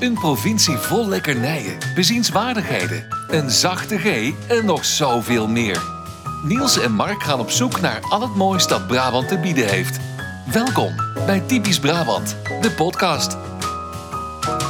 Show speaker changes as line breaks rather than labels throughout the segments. Een provincie vol lekkernijen, bezienswaardigheden, een zachte G en nog zoveel meer. Niels en Mark gaan op zoek naar al het moois dat Brabant te bieden heeft. Welkom bij Typisch Brabant, de podcast.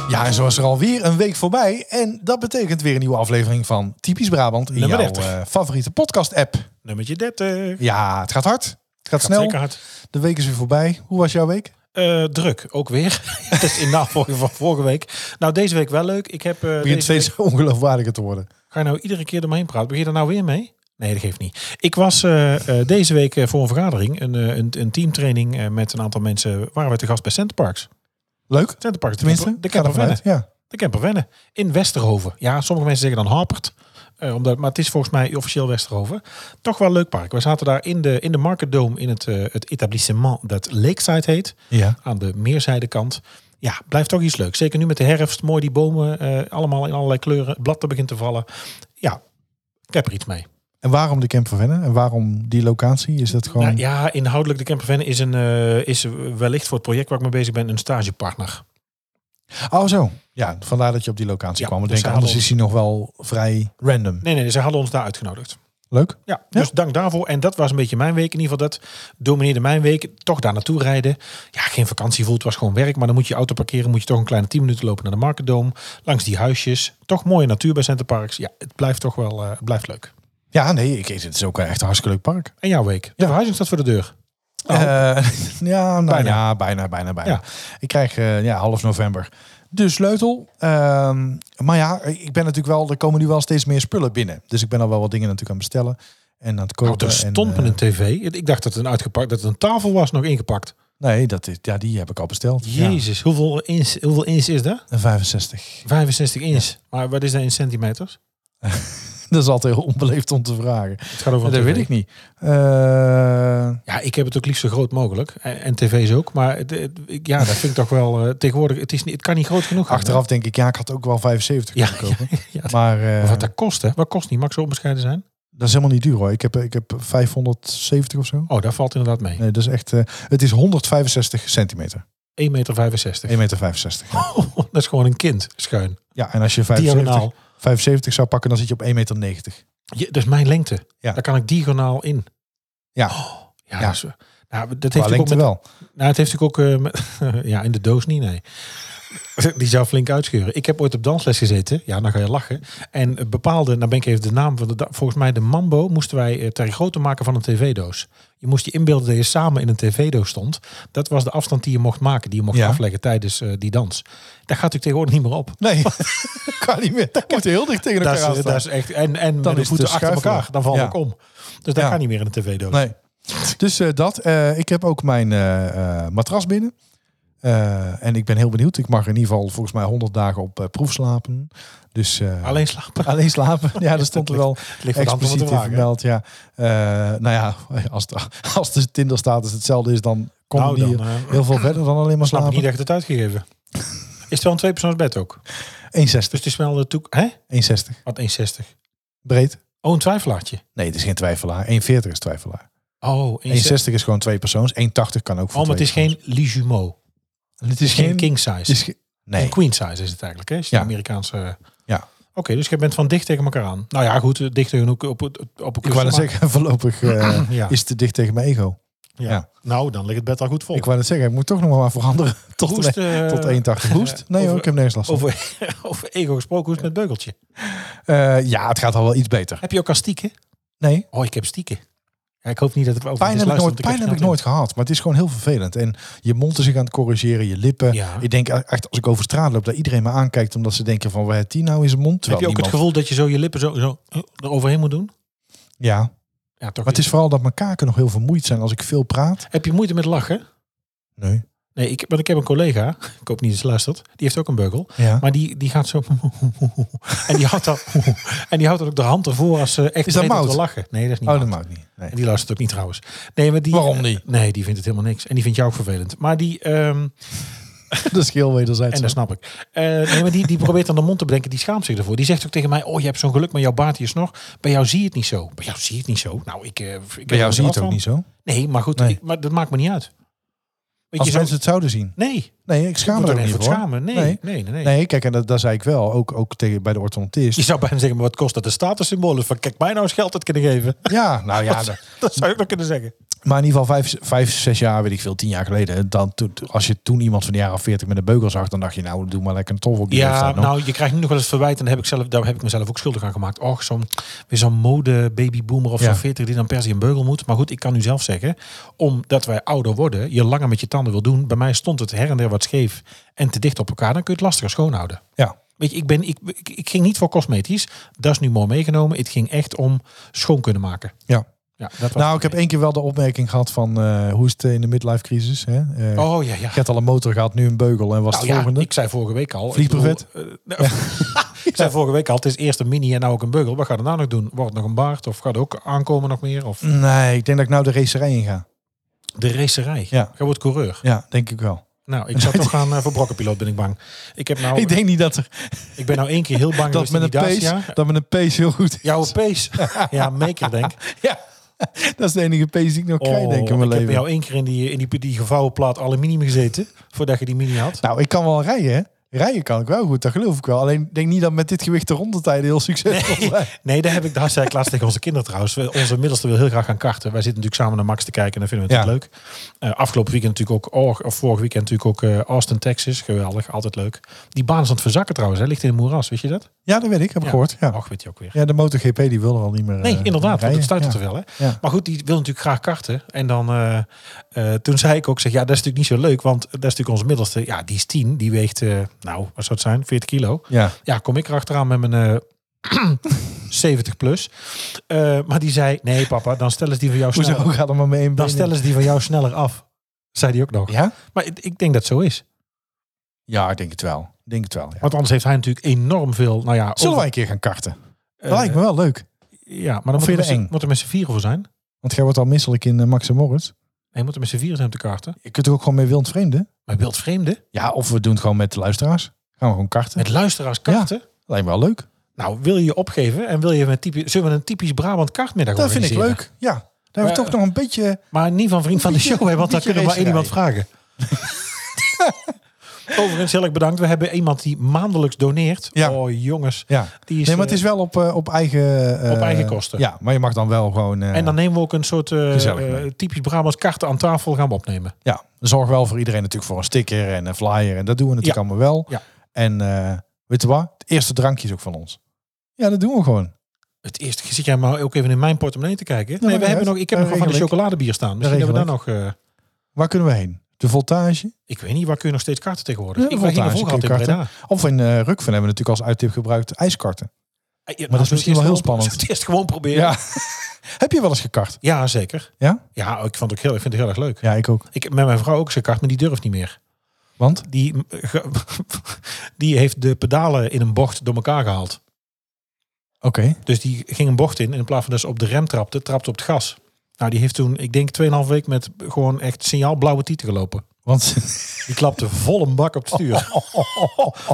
Ja, en zo is er alweer een week voorbij. En dat betekent weer een nieuwe aflevering van Typisch Brabant. In
Nummer
jouw
30.
eh, favoriete podcast-app.
Nummertje 30.
Ja, het gaat hard. Het gaat, snel.
Zeker hard.
De week is weer voorbij. Hoe was jouw week?
Eh, druk, ook weer. Het is in navolging van vorige week. Nou, deze week wel leuk. Ik heb, eh,
Het
deze
begint steeds
week-
ongeloofwaardiger te worden.
Ga je nou iedere keer eromheen praten? Begin je er nou weer mee? Nee, dat geeft niet. Ik was eh, eh, deze week eh, voor een vergadering, een, eh, een, een teamtraining eh, met een aantal mensen. Waren we te gast bij Centerparks.
Leuk,
Centerparks, de
tenminste.
camper- De
Ik ga
camper
ervan
Venne.
uit. Ja.
De camperwennen. In Westerhoven. Ja, sommige mensen zeggen dan Hapert. eh, omdat, maar het is volgens mij officieel Westerhoven. Toch wel een leuk park. We zaten daar in de, in de Market Dome in het, eh, het etablissement dat Lakeside heet.
ja.
aan de meerzijdekant. Ja, blijft toch iets leuk. Zeker nu met de herfst. Mooi die bomen eh, allemaal in allerlei kleuren. Het blad er begint te vallen. Ja, ik heb er iets mee.
En waarom de Camper Venne? En waarom die locatie? Is dat gewoon...
Nou, ja, inhoudelijk de Campervan is, een, eh, is wellicht voor het project waar ik mee bezig ben een stagepartner.
Oh, zo. Ja, vandaar dat je op die locatie
Ja,
kwam. Ik
dus
denk,
ze
anders is
hadden
hij nog wel vrij random.
Nee, nee, ze hadden ons daar uitgenodigd.
Leuk.
Ja,
Ja.
dus dank daarvoor. En dat was een beetje mijn week. In ieder geval, dat domineerde mijn week. Toch daar naartoe rijden. Ja, geen vakantie voelt, was gewoon werk. Maar dan moet je auto parkeren. Moet je toch een kleine 10 minuten lopen naar de Marketdome. Langs die huisjes. Toch mooie natuur bij Centerparks. Ja, het blijft toch wel eh, het blijft leuk.
Ja, nee, ik, het is ook echt een hartstikke leuk park.
En jouw week? De verhuizing staat voor de deur. Nou,
Eh, ja, nou,
Bijna.
ja, bijna, bijna, bijna.
Ja.
Ik krijg eh, ja, half november de sleutel. Ehm, maar ja, ik ben natuurlijk wel, er komen nu wel steeds meer spullen binnen. Dus ik ben al wel wat dingen natuurlijk aan het bestellen. En aan het kopen.
oh, er
en,
stond
eh,
me een tv. Ik dacht dat het een uitgepakt, dat het een tafel was nog ingepakt.
nee, dat is, ja, die heb ik al besteld.
Jezus, hoeveel, inch, hoeveel inch is dat?
Ja, een 65.
65 inch. Maar wat is dat in centimeters?
Dat is altijd heel onbeleefd om te vragen.
Het gaat over een
dat
tv.
weet ik niet. Eh,
Ja, ik heb het ook liefst zo groot mogelijk. En, en tv's ook. Maar het, het- ik- ja, dat vind ik toch wel... eh, tegenwoordig, het, is, niet- het kan niet groot genoeg.
achteraf denk ik, ja, ik had ook wel 75
Ja,
kunnen kopen.
ja, ja.
Maar eh,
Maar wat dat kost, hè? Wat kost die? Mag ik zo onbescheiden zijn?
dat is helemaal niet duur hoor. Ik heb, ik heb 570 of zo.
Oh, daar valt inderdaad mee. 1,65
Nee, dat is echt. eh, het is 165 centimeter.
1,65 meter.
1,65 meter.
dat is gewoon een kind, schuin.
Ja, en als je 75,
Diagonaal.
75 zou pakken, dan zit je op 1,90 meter.
Je, dat is mijn lengte.
Ja.
Daar kan ik diagonaal in.
Ja.
Oh, ja,
Ja.
dat is- nou, dat
Qua
heeft ook
lengte
met
wel.
Nou, het heeft natuurlijk ook... eh, met- ja, in de doos niet, nee. Die zou flink uitscheuren. Ik heb ooit op dansles gezeten. Ja, dan ga je lachen. En eh, bepaalde, nou ben ik even de naam van de... da- Volgens mij de Mambo moesten wij eh, ter grootte maken van een tv-doos. Je moest je inbeelden dat je samen in een tv-doos stond. Dat was de afstand die je mocht maken, die je mocht
Ja.
afleggen tijdens eh, die dans. Daar gaat natuurlijk tegenwoordig niet meer op.
Nee, kan niet meer. Dat moet heel dicht tegen
Dat
elkaar
is,
aan
eh,
staan.
dat is echt... En, en met
is
de
het
voeten
te
achter
schuifelen.
elkaar, dan val
Ja.
ik om. Dus dat
Ja.
gaat niet meer in een tv-doos.
Nee. Dus eh, dat. eh, ik heb ook mijn eh, eh, matras binnen. Eh, en ik ben heel benieuwd. Ik mag in ieder geval volgens mij 100 dagen op eh, proef slapen. Dus eh,
Alleen slapen.
alleen slapen. Ja, dat stond er wel
Het ligt wat anders
expliciet
om te
in
wagen.
vermeld. Ja. Eh, nou ja, als de, als de Tinder status hetzelfde is, dan kom
Nou,
je hier
dan, eh,
heel veel verder dan alleen maar
Snap ik
slapen.
niet echt het uitgegeven. Is het wel een tweepersoonsbed ook?
1,60.
Dus het is wel de toek... Hè?
1,60.
Wat 1,60?
Breed.
Oh, een twijfelaartje.
Nee, het is geen twijfelaar. 1,40 is twijfelaar.
Oh,
1,60 is gewoon twee persoons. 1,80 kan ook voor
Oh, maar het is
twee
geen lijumeau.
persoons. Het is
Geen king size.
het is ge- nee.
Een queen size is het eigenlijk, hè? Is
Ja.
ja. Amerikaanse...
Ja.
Oké, dus je bent van dicht tegen elkaar aan. Nou ja, goed, eh, dicht tegen elkaar op, het- op een
Ik wou net
kussen,
zeggen, voorlopig eh,
maar- Ja.
is het te dicht tegen mijn ego.
ja.
ja.
Nou, dan ligt het bed al goed vol.
Ik wou net zeggen, ik moet toch nog maar veranderen tot,
Hoest, eh,
tot 1,80. Hoest? Nee
over-
hoor, ik heb nergens last van.
Over, over ego gesproken, hoe is het met beugeltje?
Eh, ja, het gaat al wel iets beter.
Heb je ook al stieken?
Nee,
Oh, ik heb stieken. Ja, ik hoop niet dat het over
pijn heb ik nooit, pijn heb ik nooit
Ja,
gehad. Maar het is gewoon heel vervelend. En je mond is zich aan het corrigeren, je lippen.
Ja.
Ik denk e-, echt, als ik over straat loop, dat iedereen me aankijkt. Omdat ze denken van, waar heeft die nou in zijn mond?
heb je
Terwijl
ook het
niemand-
gevoel dat je zo je lippen zo, zo eh, eroverheen moet doen?
Ja,
Ja, toch.
maar het is vooral dat mijn kaken nog heel vermoeid zijn als ik veel praat.
Heb je moeite met lachen?
Nee.
Nee, ik, want ik heb een collega, ik hoop niet dat ze luistert, die heeft ook een beugel.
Ja.
Maar die, die gaat zo... En die houdt dan, en die houdt dan ook de hand ervoor als ze echt
Is dat
weet
Mout?
te lachen. Nee, dat is niet
Oh,
Mout.
dat maakt niet. Nee.
En die luistert ook niet trouwens. Nee, maar die,
Waarom niet?
Nee, die vindt het helemaal niks. En die vindt jou ook vervelend. Maar die... ehm,
Dat is heel wederzijds.
en dat snap ik. Eh, nee, maar die, die probeert dan de mond te bedenken. Die schaamt zich ervoor. Die zegt ook tegen mij, oh, je hebt zo'n geluk met jouw baard hier nog. Bij jou zie je het niet zo. Bij jou zie je het niet zo. Nou, ik... eh, ik
Bij jou zie je het ook niet zo.
Nee, maar goed,
Nee.
ik- maar dat maakt me niet uit. Weet
Als
je, zo-
mensen het zouden zien.
Nee,
Nee, ik
je
schaam
moet
me
er
er ook
even
niet voor.
voor schamen. Nee, nee,
Nee.
nee. nee,
Nee, kijk, en dat, dat zei ik wel. Ook, ook tegen, bij de
Je
orthodontist.
zou bijna zeggen, maar wat kost dat de statussymbool? Is Van, kijk, mij nou eens geld uit kunnen geven.
Ja, nou ja.
dat,
de-
dat zou ik nog kunnen zeggen.
Maar in ieder geval vijf, vijf, zes jaar, weet ik veel, tien jaar geleden. Dan, toen, als je toen iemand van de jaren 40 met een beugel zag, dan dacht je, nou, doe maar lekker een tof op die
Ja,
leeftijd nog.
nou, je krijgt nu nog wel eens verwijt. En daar heb ik, zelf, daar heb ik mezelf ook schuldig aan gemaakt. Och, zo'n, weer zo'n mode babyboomer of
Ja.
zo'n 40 die dan per se een beugel moet. Maar goed, ik kan nu zelf zeggen. Omdat wij ouder worden, je langer met je tanden wil doen. Bij mij stond het her en der wat scheef en te dicht op elkaar. Dan kun je het lastiger schoonhouden.
Ja,
Weet je, ik, ben, ik, ik, ik ging niet voor cosmetisch. Dat is nu mooi meegenomen. Het ging echt om schoon kunnen maken.
ja.
Ja, dat was
Nou, ik heb één keer wel de opmerking gehad van, eh, hoe is het in de midlife crisis? Hè? Eh,
Oh ja, ja.
Je had al een motor gehad, nu een beugel en was
Nou
het
ja,
volgende.
ik zei vorige week al.
Vliegbuffet?
Ik, bedoel, eh, nou, ik zei vorige week al, het is eerst een mini en nou ook een beugel. Wat gaat er nou nog doen? Wordt het nog een baard? Of gaat er ook aankomen nog meer? Of
Nee, ik denk dat ik nou de racerij in ga.
de racerij.
Ja.
Jij wordt coureur.
Ja, denk ik wel.
Nou, ik zou toch gaan eh, voor brokkenpiloot, ben ik bang. Ik, heb nou,
ik
ik,
denk niet dat, er,
ben nou één keer heel bang
dat,
geweest
met
in
een
die Dacia.
pace, dat met een pace heel goed is.
Jouw pees. ja, maker denk.
Ja, dat is de enige pace die ik nog krijg, denk ik, in
Oh, ik
mijn
heb bij
leven.
jou één keer in die, in die, die gevouwen plaat aluminium gezeten. Voordat je die mini had.
Nou, ik kan wel rijden, hè. Rijden kan ik wel goed, dat geloof ik wel. Alleen ik denk niet dat met dit gewicht de rondetijden heel succesvol zijn.
Nee, daar heb ik daar zei ik laatst tegen onze kinderen trouwens. We- Onze middelste wil heel graag gaan karten. Wij zitten natuurlijk samen naar Max te kijken en dan vinden we het
Ja.
leuk. Eh, afgelopen weekend natuurlijk ook, or- of vorig weekend natuurlijk ook eh, Austin, Texas. Geweldig, altijd leuk. Die baan is aan het verzakken trouwens. Hij ligt in het moeras, weet je dat?
Ja, dat weet ik, heb ik
Ja.
gehoord. Ja.
Och, weet je ook weer.
ja, de MotoGP die wil er al niet meer
Nee,
eh,
inderdaad, want
rijden.
het stuit er
Ja.
te veel. Hè?
Ja.
Maar goed, die wil natuurlijk graag karten. En dan, eh, eh, toen zei ik ook, zeg, ja, dat is natuurlijk niet zo leuk. Want dat is natuurlijk onze middelste. Ja, die is 10, die weegt, eh, nou, wat zou het zijn, 40 kilo.
Ja.
Ja, kom ik erachteraan met mijn eh, 70 plus. Eh, maar die zei, nee papa, dan stellen ze die van jou
Hoezo
sneller,
gaat er maar mee één
dan
been
stellen ze die van jou sneller af. Zei die ook nog.
in? Ja?
Maar ik, ik denk dat zo is.
Ja, ik denk het wel. Ik Denk het wel, ja.
Want anders heeft hij natuurlijk enorm veel, nou ja...
Zullen wij
over-
een keer gaan karten? Dat
eh,
lijkt me wel leuk.
Ja, maar dan moet
je dat
er, met z'n-
eng?
moet er met z'n vieren voor zijn.
Want jij wordt al misselijk in eh, Max en Moritz.
Nee, moet er met z'n vieren zijn op de kaarten.
Je kunt toch ook gewoon mee wild vreemden?
Maar wildvreemden,
Ja, of we doen het gewoon met de luisteraars. Gaan we gewoon karten.
met luisteraars karten...
Lijkt me wel leuk.
Nou, wil je je opgeven en wil je een typisch, zullen we een typisch Brabant kartmiddag
Dat vind ik
organiseren?
leuk. Ja. Daar hebben we
Maar,
toch nog een beetje...
Maar niet van vriend van de
Een beetje-
show, hè, want
een beetje
dan kunnen we maar één iemand vragen. Overigens, heel erg bedankt. We hebben iemand die maandelijks doneert.
Ja.
Oh, jongens.
Ja.
Die is,
nee, maar het
eh,
is wel op, eh, op eigen... eh,
Op eigen kosten.
Ja, maar je mag dan wel gewoon... eh,
En dan nemen we ook een soort eh,
Gezellig,
eh,
nee.
typisch Brabants karten aan tafel gaan we opnemen.
Ja, zorg wel voor iedereen natuurlijk voor een sticker en een flyer. En dat doen we natuurlijk allemaal wel.
Ja.
En eh weet je wat? Het eerste drankje is ook van ons. Ja, dat doen we gewoon.
Het eerste, zit jij maar ook even in mijn portemonnee te kijken?
maakt
nee, we
niet
hebben
uit.
nog, ik heb
Dat
nog wel van
Nou,
de
regel ik.
chocoladebier staan. Misschien
Dat
hebben we daar nog... eh,
Waar kunnen we heen? De Voltage?
ik weet niet, waar kun je nog steeds kaarten tegenwoordig?
Ja,
ik ging er
Voltage
vroeger altijd
kun
in
je
Breda.
Of in eh Rukven hebben we natuurlijk als uittip gebruikt ijskarten.
Eh, ja, nou,
dat is
zullen we
misschien wel
het
heel
eerst gewoon-
spannend.
zullen we het Eerst gewoon proberen.
Ja. Heb je wel eens gekart?
Ja, zeker.
Ja?
Ja, ik, vond het ook heel, ik vind het heel erg leuk.
Ja, ik ook.
Ik heb met mijn vrouw ook zo'n kaart, maar die durft niet meer.
Want?
Die, eh, ge- die heeft de pedalen in een bocht door elkaar gehaald.
Oké.
Dus die ging een bocht in en in plaats van dat ze op de rem trapte, trapte op het gas. Nou, die heeft toen, ik denk, 2,5 week met gewoon echt signaalblauwe tieten gelopen.
Want
Die klapte vol een bak op het stuur.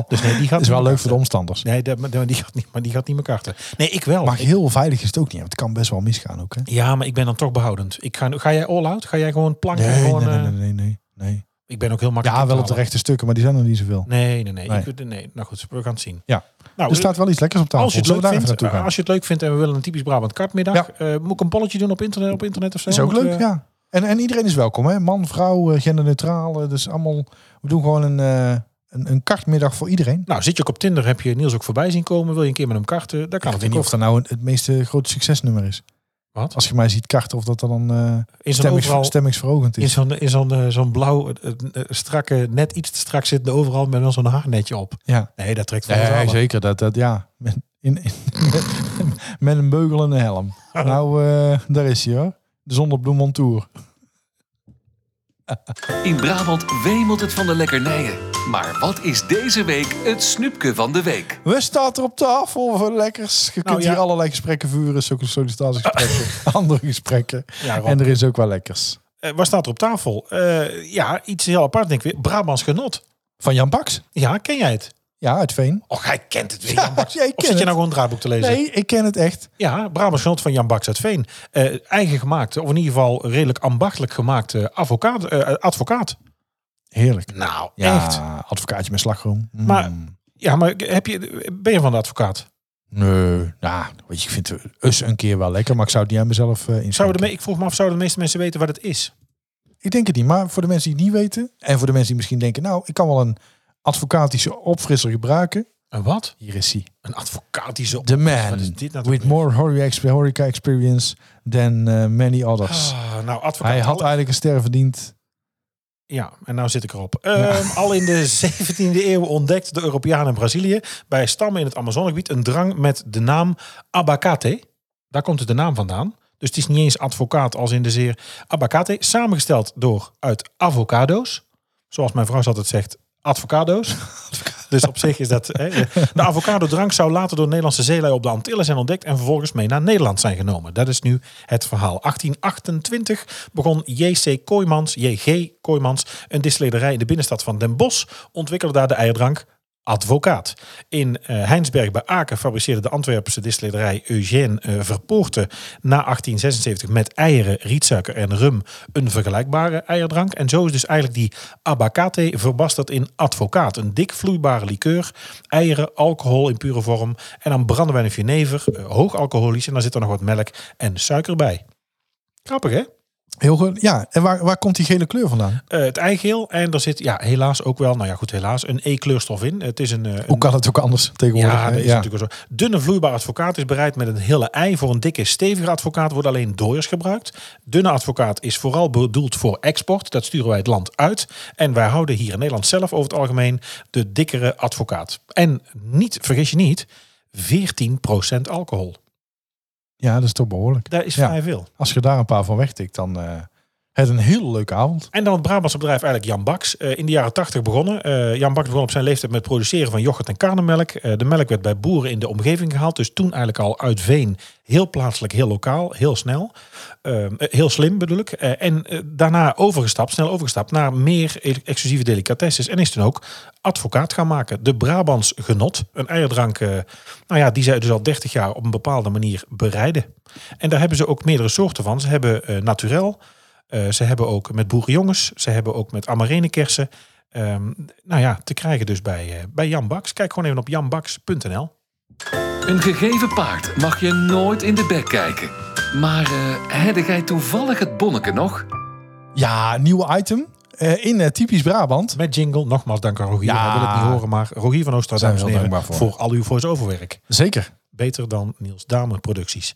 Dus nee, die gaat
het is wel
niet
leuk voor de
meer
omstanders.
karten. Nee, dat, maar- maar die gaat niet, maar die gaat niet meer karten. Nee, ik wel.
Maar heel veilig is het ook niet. Want het kan best wel misgaan ook. Hè?
ja, maar ik ben dan toch behoudend. Ik ga, nu- ga jij all-out? Ga jij gewoon planken?
Nee,
gewoon,
nee, nee,
eh,
nee, nee, nee, nee.
Ik ben ook heel makkelijk.
Ja,
in
wel
te
op de
halen.
rechte stukken, maar die zijn er niet zoveel.
Nee, nee, nee.
Nee.
Ik, nee. Nou goed, we gaan het zien.
Ja. Dus
Nou,
Er staat wel iets lekkers op tafel.
als je, het
Zullen
leuk
we daar even
vindt,
naartoe
eh,
gaan?
als je het leuk vindt en we willen een typisch Brabant kartmiddag,
Ja.
eh, moet ik een polletje doen op internet, op internet of zo?
Is ook
Moeten
leuk,
we-
ja. En, en iedereen is welkom, hè? Man, vrouw, eh, genderneutraal. eh, Dus allemaal. We doen gewoon een, eh, een, een kartmiddag voor iedereen.
Nou, zit je ook op Tinder, heb je Niels ook voorbij zien komen, wil je een keer met hem karten, dan kan
ik
het
weet niet of dat nou een- het meeste grote succesnummer is.
Wat?
Als je mij ziet karten, of dat dan eh
In zo'n
stemmings,
overal,
stemmingsverhogend
in
is.
zo'n in zo'n eh, zo'n blauw, eh, eh, strakke, net iets te strak zittende overal met wel zo'n haarnetje op.
Ja.
Nee, dat trekt van
Nee,
ons allen.
zeker. Dat, dat, ja. Met, in, in- met een beugel en een helm.
Oh.
Nou, eh, daar is hij hoor. De zonnebloem on tour.
In Brabant wemelt het van de lekkernijen. Maar wat is deze week het snoepje van de week?
We staan er op tafel voor lekkers. Je kunt
Nou, ja.
hier allerlei gesprekken voeren. Zulke sollicitatiegesprekken, andere gesprekken.
Ja, Rob.
En er is ook wel lekkers.
Eh, wat staat er op tafel? Eh, ja, iets heel apart denk ik weer. Brabants genot.
Van Jan Baks?
Ja, ken jij het?
Ja, uit Veen.
Och, hij kent het weer.
Ja,
Jan Baks.
jij
of
kent
zit je
het.
nou gewoon een draaiboek te lezen?
Nee, ik ken het echt.
Ja, Brabants genot van Jan Baks uit Veen. Eh, eigen gemaakt, of in ieder geval redelijk ambachtelijk gemaakte advocaat, eh, advocaat.
Heerlijk.
Nou,
Ja,
echt.
advocaatje met slagroom. Mm.
Maar- Ja, maar heb je, ben je van de advocaat?
Nee, nou, weet je, ik vind us een keer wel lekker, maar ik zou het niet aan mezelf eh
Zouden
inschenken.
de me, ik vroeg me af, zouden de meeste mensen weten wat het is?
Ik denk het niet, maar voor de mensen die het niet weten en voor de mensen die misschien denken, nou, ik kan wel een advocatische opfrisser gebruiken.
Een wat?
Hier is hij.
Een advocatische...
The
Wat
man
is dit nou
with more horeca exp- horeca experience than eh, many others.
Ah, nou, advocaat...
Hij had
al-
eigenlijk een ster verdiend.
Ja, en nou zit ik erop. Ehm, al in de 17e eeuw ontdekt de Europeanen in Brazilië bij stammen in het Amazonegebied een drang met de naam abacate. Daar komt de naam vandaan. Dus het is niet eens advocaat als in de zeer abacate. Samengesteld door uit avocado's. Zoals mijn vrouw altijd zegt, advocado's. Dus op zich is dat... Hè, de avocado-drank zou later door Nederlandse zeelui op de Antillen zijn ontdekt... en vervolgens mee naar Nederland zijn genomen. Dat is nu het verhaal. 1828 begon J.C. Kooijmans, J.G. Kooijmans... een distillerij in de binnenstad van Den Bosch... ontwikkelde daar de eierdrank Advocaat. In eh, Heinsberg bij Aken fabriceerde de Antwerpse distillerij Eugène eh, Verpoorte na 1876 met eieren, rietsuiker en rum een vergelijkbare eierdrank. En zo is dus eigenlijk die abacate verbasterd in advocaat. Een dik vloeibare likeur, eieren, alcohol in pure vorm en dan brandewijn en jenever, eh, hoog alcoholisch en dan zit er nog wat melk en suiker bij. Grappig hè?
Heel goed. Ja, en waar, waar komt die gele kleur vandaan?
Eh, het eigeel en er zit ja, helaas ook wel, nou ja goed helaas, een E-kleurstof in. Het is een, eh, een
Hoe kan het ook anders tegenwoordig?
Ja,
hè?
dat is natuurlijk wel zo. Dunne vloeibaar advocaat is bereid met een hele ei. Voor een dikke, stevige advocaat wordt alleen dooiers gebruikt. Dunne advocaat is vooral bedoeld voor export. Dat sturen wij het land uit. En wij houden hier in Nederland zelf over het algemeen de dikkere advocaat. En niet, vergis je niet, 14% alcohol.
ja, dat is toch behoorlijk.
Daar is
Ja.
vrij veel.
Als je daar een paar van wegtikt, dan eh het een hele leuke avond.
En dan het Brabantse bedrijf eigenlijk Jan Baks. Eh, in de jaren 80 begonnen. Eh, Jan Baks begon op zijn leeftijd met produceren van yoghurt en karnemelk. Eh, de melk werd bij boeren in de omgeving gehaald. Dus toen eigenlijk al uit veen. Heel plaatselijk, heel lokaal, heel snel. Ehm, eh, heel slim bedoel ik. Eh, en eh, daarna overgestapt, snel overgestapt naar meer ex- exclusieve delicatesses. En is toen ook advocaat gaan maken. De Brabants Genot. Een eierdrank, eh, nou ja, die zij dus al 30 jaar op een bepaalde manier bereiden. En daar hebben ze ook meerdere soorten van. Ze hebben eh, naturel. Eh, ze hebben ook met boerenjongens, ze hebben ook met amarenekersen. Ehm nou ja, te krijgen dus bij, eh, bij Jan Baks. Kijk gewoon even op janbaks.nl.
Een gegeven paard mag je nooit in de bek kijken. Maar eh heb jij toevallig het bonneke nog?
Ja, nieuwe item eh, in eh, typisch Brabant.
Met jingle, nogmaals dank aan Rogier.
Ja.
Hij wil het niet horen, maar Rogier van Oostra,
Zijn we
dames en
heel
heren,
dankbaar
voor.
voor.
al uw voice-overwerk.
Zeker.
Beter dan Niels Damen producties.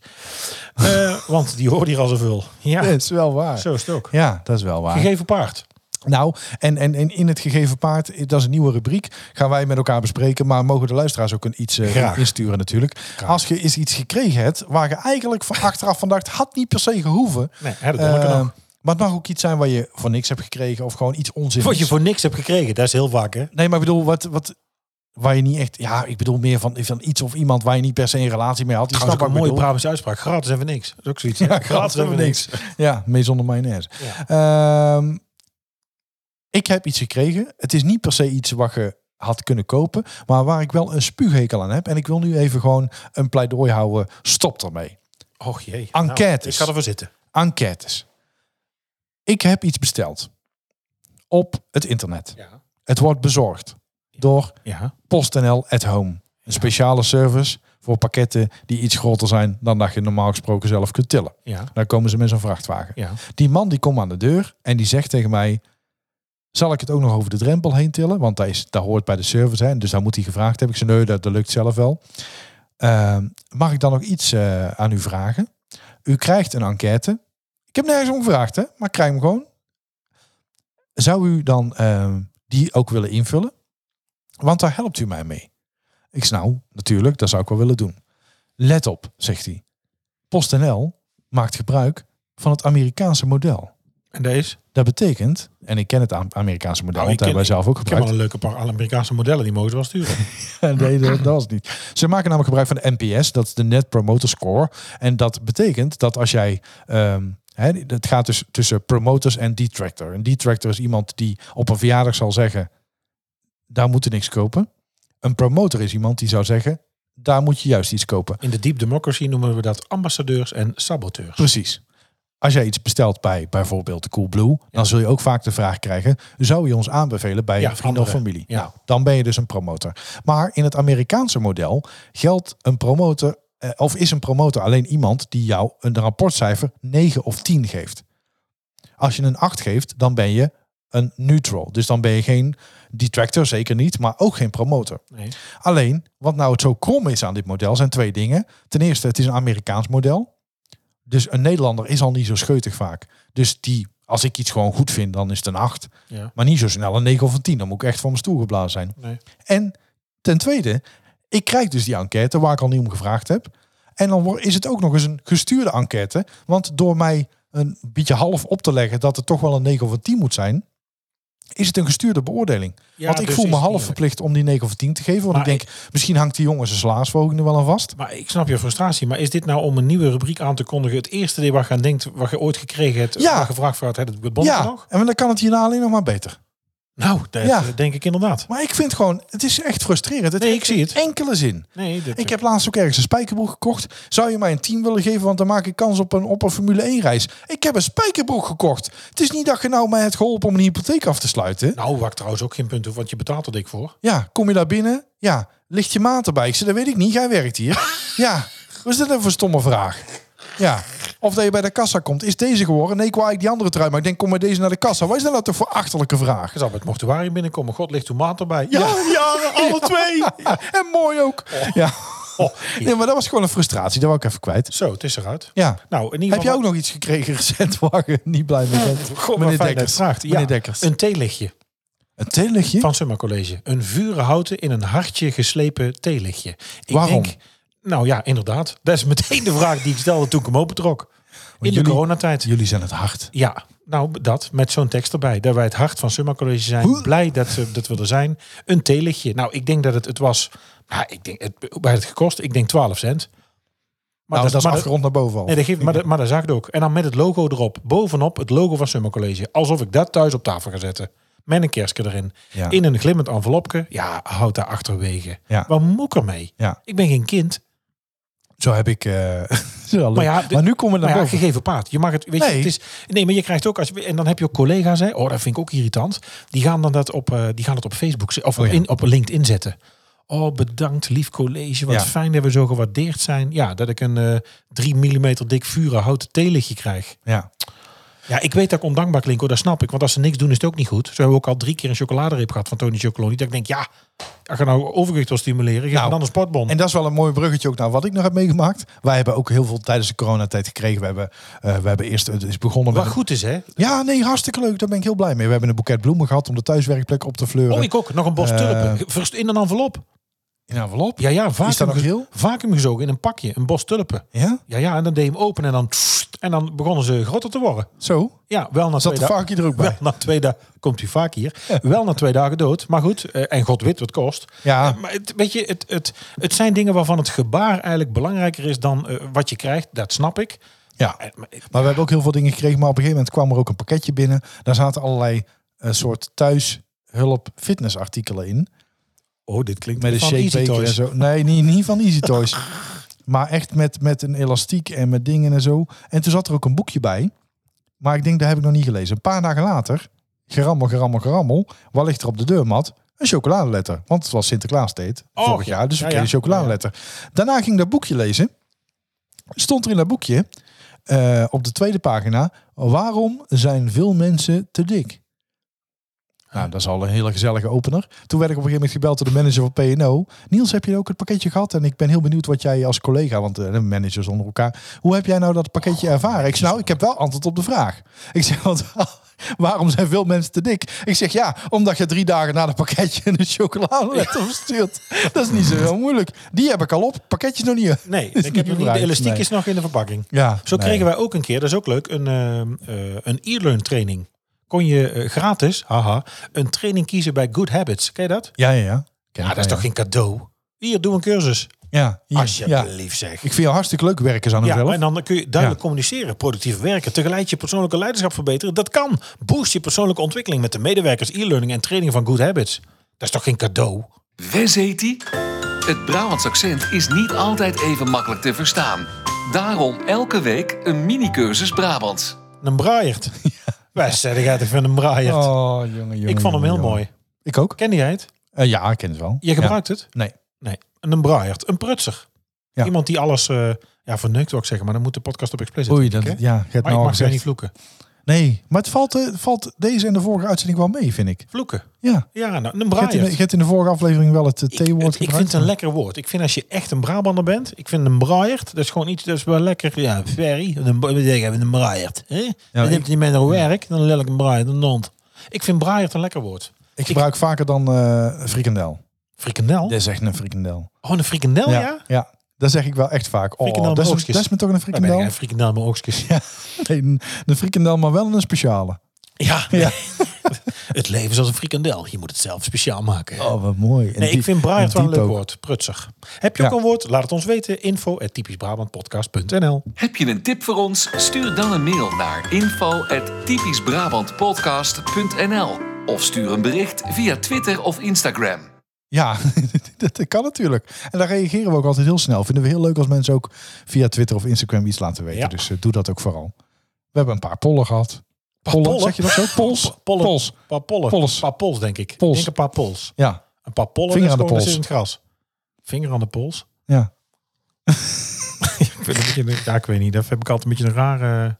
Eh, want die hoorde hier al zoveel. Ja,
Dat is wel waar.
zo is het ook.
Ja, dat is wel waar.
Gegeven paard.
Nou, en, en, en in het gegeven paard, eh, dat is een nieuwe rubriek, gaan wij met elkaar bespreken. Maar mogen de luisteraars ook een iets eh,
Graag.
insturen natuurlijk. Als je eens iets gekregen hebt, waar je eigenlijk van achteraf van dacht, had niet per se gehoeven.
Nee, hè, dat kan ik
Eh,
nog.
maar het mag ook iets zijn waar je voor niks hebt gekregen of gewoon iets onzinnigs.
Wat je voor niks hebt gekregen, dat is heel vaak hè.
Nee, maar ik bedoel, wat, wat, waar je niet echt... Ja, ik bedoel meer van, van iets of iemand waar je niet per se een relatie mee had. Die
Trouwens ook een
snap
mooie
wat ik
Brabantse uitspraak. Gratis even niks. Dat is ook zoiets. hè?
bedoel. Ja, gratis hebben we niks. Ja, mee zonder mayonaise. Ehm, ik heb iets gekregen. Het is niet per se iets wat je had kunnen kopen, maar waar ik wel een spuughekel aan heb. En ik wil nu even gewoon een pleidooi houden. Stop ermee.
Och jee.
Enquêtes.
Nou, ik ga ervoor zitten.
Enquêtes. Ik heb iets besteld op het internet.
Ja.
Het wordt bezorgd door
Ja.
PostNL at Home. Een speciale service voor pakketten die iets groter zijn dan dat je normaal gesproken zelf kunt tillen.
Ja.
Daar komen ze met zo'n vrachtwagen.
Ja.
Die man die komt aan de deur en die zegt tegen mij... Zal ik het ook nog over de drempel heen tillen? Want dat, is, dat hoort bij de service. Hè? Dus daar moet hij gevraagd hebben. Ik zei, nee, dat, dat lukt zelf wel. Ehm, mag ik dan nog iets eh, aan u vragen? U krijgt een enquête. Ik heb nergens om gevraagd, hè? maar ik krijg hem gewoon. Zou u dan ehm, die ook willen invullen? Want daar helpt u mij mee. Ik zei, nou, natuurlijk, dat zou ik wel willen doen. Let op, zegt hij. PostNL maakt gebruik van het Amerikaanse model.
En dat is?
Dat betekent, en ik ken het Am- Amerikaanse model,
Nou,
want dat
ik
hebben wij zelf ook
Ik heb
gebruikt.
wel een leuke paar Amerikaanse modellen, die mogen ze wel sturen.
nee, dat, dat was het niet. Ze maken namelijk gebruik van de NPS, dat is de Net Promoter Score. En dat betekent dat als jij. ehm, hè, het gaat dus tussen promoters en detractor. Een detractor is iemand die op een verjaardag zal zeggen: daar moet je niks kopen. Een promotor is iemand die zou zeggen: daar moet je juist iets kopen.
In de deep democracy noemen we dat ambassadeurs en saboteurs.
Precies. Als jij iets bestelt bij bijvoorbeeld de Coolblue, dan zul je ook vaak de vraag krijgen: zou je ons aanbevelen bij
Ja,
een vrienden of
anderen.
familie?
Ja.
Nou, dan ben je dus een promotor. Maar in het Amerikaanse model geldt een promotor, eh, of is een promotor alleen iemand die jou een rapportcijfer 9 of 10 geeft. Als je een 8 geeft, dan ben je een neutral. Dus dan ben je geen detractor, zeker niet, maar ook geen promotor.
Nee.
Alleen, wat nou het zo krom is aan dit model, zijn twee dingen. Ten eerste, het is een Amerikaans model. Dus een Nederlander is al niet zo scheutig vaak. Dus die, als ik iets gewoon goed vind, dan is het een 8.
Ja.
Maar niet zo snel een 9 of een 10. Dan moet ik echt van mijn stoel geblazen zijn.
Nee.
En ten tweede, ik krijg dus die enquête waar ik al niet om gevraagd heb. En dan wor- is het ook nog eens een gestuurde enquête. Want door mij een beetje half op te leggen dat het toch wel een 9 of een 10 moet zijn, is het een gestuurde beoordeling.
Ja,
want ik
dus
voel me
is het
half
niet
verplicht om die 9 of 10 te geven. Want
Maar
ik denk, misschien hangt die jongen zijn salarisverhoging er wel aan vast.
Maar ik snap je frustratie. Maar is dit nou om een nieuwe rubriek aan te kondigen? Het eerste ding waar je aan denkt, wat je ooit gekregen hebt,
Ja.
waar je vraagt voor had, heb je het bond
ja,
nog?
en dan kan het hierna alleen nog maar beter.
Nou, dat
Ja.
eh, denk ik inderdaad.
Maar ik vind gewoon, het is echt frustrerend. Het
Nee,
heeft
ik zie het.
geen enkele zin.
Nee, eh, dat,
Ik heb laatst ook ergens een spijkerbroek gekocht. Zou je mij een 10 willen geven? Want dan maak ik kans op een, op een Formule 1 reis. Ik heb een spijkerbroek gekocht. Het is niet dat je nou mij hebt geholpen om een hypotheek af te sluiten.
Nou, waar ik trouwens ook geen punt hoef, want je betaalt er dik voor.
Ja, kom je daar binnen? Ja, ligt je maat erbij? Ik zei, dat weet ik niet. Jij werkt hier. ja, wat is dat nou voor stomme vraag? Ja, of dat je bij de kassa komt. Is deze geworden? Nee, ik wou eigenlijk die andere trui. Maar ik denk, kom maar deze naar de kassa. Wat is dat nou toch voor achterlijke vraag?
Je zou bij het mortuarium binnenkomen. God, ligt uw maat erbij.
Ja,
ja Oh. alle twee.
En mooi ook. Ja. Nee, maar dat was gewoon een frustratie. Dat wou ik even kwijt.
Zo, het is eruit.
Ja.
Nou, in ieder
Heb jij
geval...
ook nog iets gekregen recent waar je niet blij mee bent?
Goh, maar fijn dat je het vraagt.
Meneer
Ja,
Dekkers.
Een theelichtje
Een theelichtje?
van Summa College. Een vuren houten in een hartje geslepen theelichtje. Ik
Waarom?
Denk, nou ja, inderdaad. Dat is meteen de vraag die ik stelde toen ik hem opentrok. In de
jullie-
coronatijd.
Jullie zijn het hart.
Ja, nou dat, met zo'n tekst erbij. Dat wij het hart van Summa College zijn.
Hoe?
Blij dat, ze- dat we er zijn. Een theelichtje. Nou, ik denk dat het, het was... Nou, ik denk, het, hoe heeft het gekost? Ik denk 12 cent. Maar
nou, dat, is
maar
afgerond naar boven al.
Nee, dat geeft, maar, dat, maar dat zag ik ook. En dan met het logo erop. Bovenop het logo van Summer College. Alsof ik dat thuis op tafel ga zetten. Met een kerstje erin.
Ja.
In een glimmend envelopje. Ja, houd daar achterwege.
Ja.
Waar moet ik ermee?
Ja.
Ik ben geen kind.
Zo heb ik... eh, is wel leuk. maar,
Maar ja, de-
nu komen we
Maar
naar
ja,
boven.
gegeven paard. Je mag het, weet
Nee.
je, het is, nee, maar je krijgt ook als je, en dan heb je ook collega's, hè. Oh, dat vind ik ook irritant. Die gaan dan dat op, eh, die gaan het op Facebook ze- of
Oh ja.
in, op LinkedIn zetten. Oh, bedankt, lief college. Wat
Ja.
fijn dat we zo gewaardeerd zijn. Ja, dat ik een eh 3 mm dik vuren houten theelichtje krijg.
Ja.
Ja, ik weet dat ik ondankbaar klink, hoor, dat snap ik. Want als ze niks doen, is het ook niet goed. Zo hebben we ook al drie keer een chocoladereep gehad van Tony Chocoloni. Dat ik denk, ja, ik ga nou overgewicht wil stimuleren. Geef
Nou,
me dan een sportbon.
En dat is wel een mooi bruggetje ook naar wat ik nog heb meegemaakt. Wij hebben ook heel veel tijdens de coronatijd gekregen. We hebben, eh, we hebben eerst... Het is begonnen
Wat
met...
goed is, hè?
Ja, nee, hartstikke leuk. Daar ben ik heel blij mee. We hebben een boeket bloemen gehad om de thuiswerkplek op te fleuren.
Oh, ik ook. Nog een bos
Eh,
tulpen. Verst- In een envelop.
In een envelop?
Ja, ja, vacuüm,
Is dat nog
ge-
heel?
vacuüm gezogen in een pakje. Een bos tulpen.
Ja?
Ja, ja, en dan deed je hem open en dan... tssst, En dan begonnen ze groter te worden.
Zo?
Ja, wel na
Zat
twee
de
dagen...
varkie er ook
Wel
bij?
na twee dagen... Komt u vaak hier. Wel na twee dagen dood. Maar goed, eh, en god weet wat het kost.
Ja.
Maar het, weet je, het, het, het zijn dingen waarvan het gebaar eigenlijk belangrijker is dan eh, wat je krijgt. Dat snap ik.
Ja.
Eh, maar ik-
Maar we hebben ook heel veel dingen gekregen. Maar op een gegeven moment kwam er ook een pakketje binnen. Daar zaten allerlei eh, soort thuishulp fitnessartikelen in.
Oh, dit klinkt
Met een
van Easy
shakebeker en
Toys.
zo. Nee, niet, niet van Easy Toys. maar echt met, met een elastiek en met dingen en zo. En toen zat er ook een boekje bij. Maar ik denk, dat heb ik nog niet gelezen. Een paar dagen later, gerammel, gerammel, gerammel. Wat ligt er op de deurmat? Een chocoladeletter. Want het was Sinterklaas deed
Oh,
vorig
ja.
jaar. Dus we
Ja,
kregen
ja.
chocoladeletter. Daarna ging ik dat boekje lezen. Stond er in dat boekje, eh, op de tweede pagina... Waarom zijn veel mensen te dik? Nou, dat is al een hele gezellige opener. Toen werd ik op een gegeven moment gebeld door de manager van PNO. Niels, heb je ook het pakketje gehad? En ik ben heel benieuwd wat jij als collega, want eh, de managers onder elkaar, hoe heb jij nou dat pakketje ervaren? Ik zeg, nou, ik heb wel antwoord op de vraag. Ik zeg, want waarom zijn veel mensen te dik? Ik zeg, ja, omdat je drie dagen na dat pakketje een chocolade hebt opgestuurd. Dat is niet zo heel moeilijk. Die heb ik al op, pakketje is nog niet. Is
Nee, ik
niet
heb hem niet.
gebruikt,
De elastiek
nee.
is nog in de verpakking.
Ja,
Zo
nee.
kregen wij ook een keer, dat is ook leuk, een, eh, eh, een e-learn training. Kon je eh, gratis, haha, een training kiezen bij Good Habits. Ken je dat?
Ja, ja, ja. Ken
Ja,
ik
dat is
wel,
toch geen cadeau? Hier, doe een cursus.
Ja, ja. hier, ja.
Alsjeblieft zeg.
Ik vind jou hartstikke leuk werken aan mezelf.
Ja, en dan kun je duidelijk
Ja.
communiceren, productief werken, tegelijk je persoonlijke leiderschap verbeteren. Dat kan. Boost je persoonlijke ontwikkeling met de medewerkers, e-learning en training van Good Habits. Dat is toch geen cadeau?
Wes heet die? Het Brabants accent is niet altijd even makkelijk te verstaan. Daarom elke week een mini-cursus Brabants.
Een braaiert. Wij zeiden, gaat even een braaiert.
Oh, jongen, jongen,
ik vond hem
jongen,
heel
jongen.
mooi.
Ik ook.
Ken jij het?
Eh, ja, ik ken het wel.
Jij gebruikt het?
Nee.
Nee. Een braaiert. Een prutser.
Ja.
Iemand die alles eh ja, verneukt, wil ik zeggen. Maar dan moet de podcast op expres
Ja. Oei,
zetten,
dat,
denk ik, hè?
ja, je hebt
Maar ik
nou al
mag ze niet
gezegd.
vloeken.
Nee, maar het valt, eh, valt deze en de vorige uitzending wel mee, vind ik.
Vloeken.
Ja.
Ja, nou,
Je hebt, in
een
de,
braaiert.
je hebt in de vorige aflevering wel het eh,
Ik,
T-woord
het- ik vind
gebruikt.
het een lekker woord. Ik vind als je echt een Brabander bent, ik vind een braaiert, dat is gewoon iets, dat is wel lekker, ja, ferry. Een, we zeggen een braaiert. Hè? dan
ik-
neemt hij mee naar werk, dan lelijk een braaiert, een nond. Ik vind braaiert een lekker woord.
ik gebruik vaker dan eh, frikandel.
Frikandel?
Dat is echt een frikandel.
Oh, een frikandel, ja?
ja. Dat zeg ik wel echt vaak. Oh,
Frikandel
dat is,
met
een-
oogstjes.
dat is me toch een
Dan ben
frikandel?
ik een frikandel met mijn oogstjes.
Nee, een, een frikandel, maar wel een speciale.
Ja,
Ja.
het leven is als een frikandel. Je moet het zelf speciaal maken.
Oh, wat mooi. En
nee,
die-
ik vind braaiert
en
wel een
diep
leuk
ook.
woord. Prutsig. Heb je ook
Ja.
een woord? Laat het ons weten. Info at typischbrabantpodcast.nl
Heb je een tip voor ons? Stuur dan een mail naar info.typischbrabantpodcast.nl of stuur een bericht via Twitter of Instagram.
Ja, dat kan natuurlijk. En daar reageren we ook altijd heel snel. Vinden we heel leuk als mensen ook via Twitter of Instagram iets laten weten.
Ja.
Dus eh, doe dat ook vooral. We hebben een paar pollen gehad. Pollen,
pollen?
zeg je dat zo? Pols?
Pollen.
Pols.
Een paar pollen.
Pols.
Een paar pols, denk ik.
Pols.
Ik denk een paar pols.
Ja,
Een paar pollen
Vinger
dat
aan de
is gewoon- dat
pols.
is in het gras. Vinger aan de pols.
ja.
ik, vind het een beetje, ja, ik weet niet. Dat heb ik altijd een beetje een rare,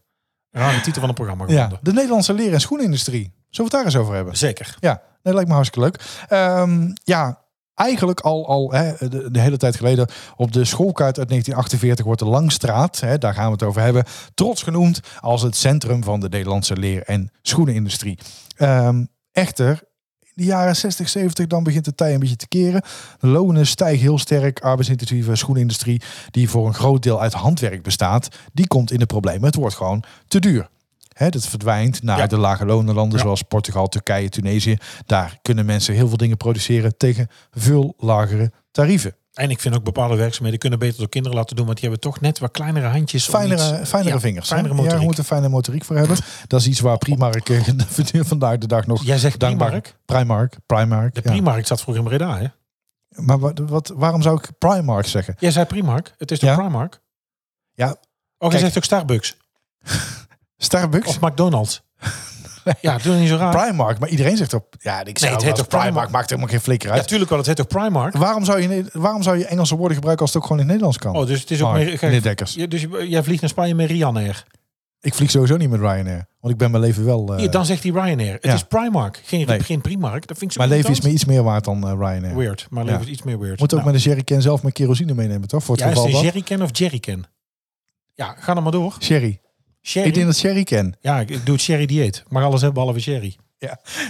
rare titel van het programma
ja.
gevonden.
De Nederlandse leer- en schoenindustrie. Zullen we het daar eens over hebben?
Zeker.
Ja, nee, dat lijkt me hartstikke leuk. Ehm, ja, eigenlijk al, al hè, de, de hele tijd geleden op de schoolkaart uit 1948 wordt de Langstraat, hè, daar gaan we het over hebben, trots genoemd als het centrum van de Nederlandse leer- en schoenenindustrie. Ehm, echter, in de jaren 60, 70 dan begint de tij een beetje te keren. De lonen stijgen heel sterk. Arbeidsintensieve schoenindustrie, die voor een groot deel uit handwerk bestaat, die komt in de problemen. Het wordt gewoon te duur. Hè, dat verdwijnt naar
Ja.
de lage lonenlanden
Ja.
zoals Portugal, Turkije, Tunesië. Daar kunnen mensen heel veel dingen produceren tegen veel lagere tarieven.
En ik vind ook bepaalde werkzaamheden kunnen beter door kinderen laten doen. Want die hebben toch net wat kleinere handjes. om
Fijnere,
iets-
fijnere
ja,
vingers. hè?
Fijnere
Ja,
motoriek.
je moet een fijne motoriek voor hebben. Dat is iets waar Primark eh, vandaag de dag nog
Jij zegt Primark?
Primark, Primark.
De
ja.
Primark zat vroeger in Breda, hè?
Maar wat, wat, waarom zou ik Primark zeggen?
Jij zei Primark. Het is toch
Ja.
Primark?
Ja.
Oh, jij
Kijk.
zegt ook Starbucks.
Starbucks?
Of McDonald's. ja, doe niet zo raar.
Primark, maar iedereen zegt op. Ja, ik
Nee,
zou het
het heet
heet
toch
op Primark,
Primark?
maakt helemaal geen flikker
Ja,
uit.
tuurlijk wel. Het heet toch Primark?
waarom, zou je, waarom zou je Engelse woorden gebruiken als het ook gewoon in het Nederlands kan?
Oh, dus het is ook
Mark,
meer...
meneer Dekkers.
Ja, dus je- jij vliegt naar Spanje met Ryanair.
Ik vlieg sowieso niet met Ryanair, want ik ben mijn leven wel. eh,
Hier, dan zegt hij Ryanair. Het
ja.
is Primark. Geen,
Nee.
geen Primark. Dat vind ik zo
mijn leven is
irritant.
me iets meer waard dan eh, Ryanair.
Weird. Maar leven
Ja.
is iets meer weird.
Moet ook
Nou,
met een jerrycan zelf mijn kerosine meenemen, toch? Voor het
ja, is het
geval
een
dat.
jerrycan of jerrycan? Ja, ga dan maar door.
Sherry.
Sherry.
Ik denk dat sherry can.
Ja, ik ik doe het sherry dieet. Maar alles hebben behalve sherry.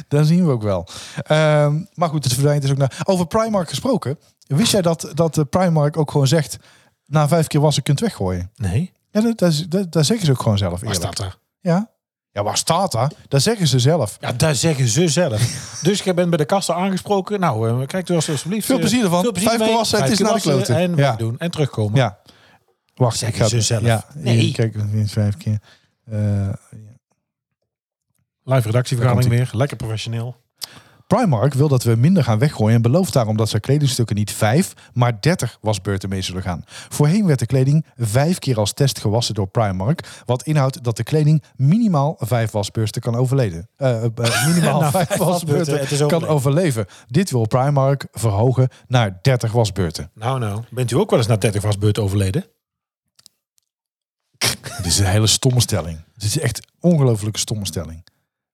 Dat zien we ook wel. Ehm, maar goed, het verdwijnt dus ook naar. Over Primark gesproken. Wist jij dat, dat de Primark ook gewoon zegt. Na vijf keer wassen kunt weggooien?
Nee.
Ja, dat, dat, is- dat, dat zeggen ze ook gewoon zelf.
Waar
eerlijk.
staat er?
Ja. Ja, waar staat dat? Dat zeggen ze zelf.
Ja, daar zeggen ze zelf. dus jij bent bij de kassa aangesproken. Nou, eh, kijk dus alsjeblieft.
Veel plezier ervan. Vijf
mee.
keer wassen, het
Vijf
is
keer
naar de
wassen
kloten.
En
Ja.
wegdoen en terugkomen.
Ja. Wacht,
Zeggen
ik ga
ze zelf.
Ja,
Nee.
hier, kijk, weer vijf keer. Eh,
Live redactievergadering
Daar
weer. Lekker professioneel.
Primark wil dat we minder gaan weggooien en belooft daarom dat ze kledingstukken niet vijf, maar dertig wasbeurten mee zullen gaan. Voorheen werd de kleding vijf keer als test gewassen door Primark, wat inhoudt dat de kleding minimaal vijf wasbeurten kan overleven. Eh, eh, minimaal
Nou,
vijf
vijf wasbeurten, het is
wasbeurten kan
overleven.
overleven. Dit wil Primark verhogen naar dertig wasbeurten.
Nou, nou. Bent u ook wel eens na 30 wasbeurt overleden?
Dit is een hele stomme stelling. Dit is echt een ongelooflijke stomme stelling.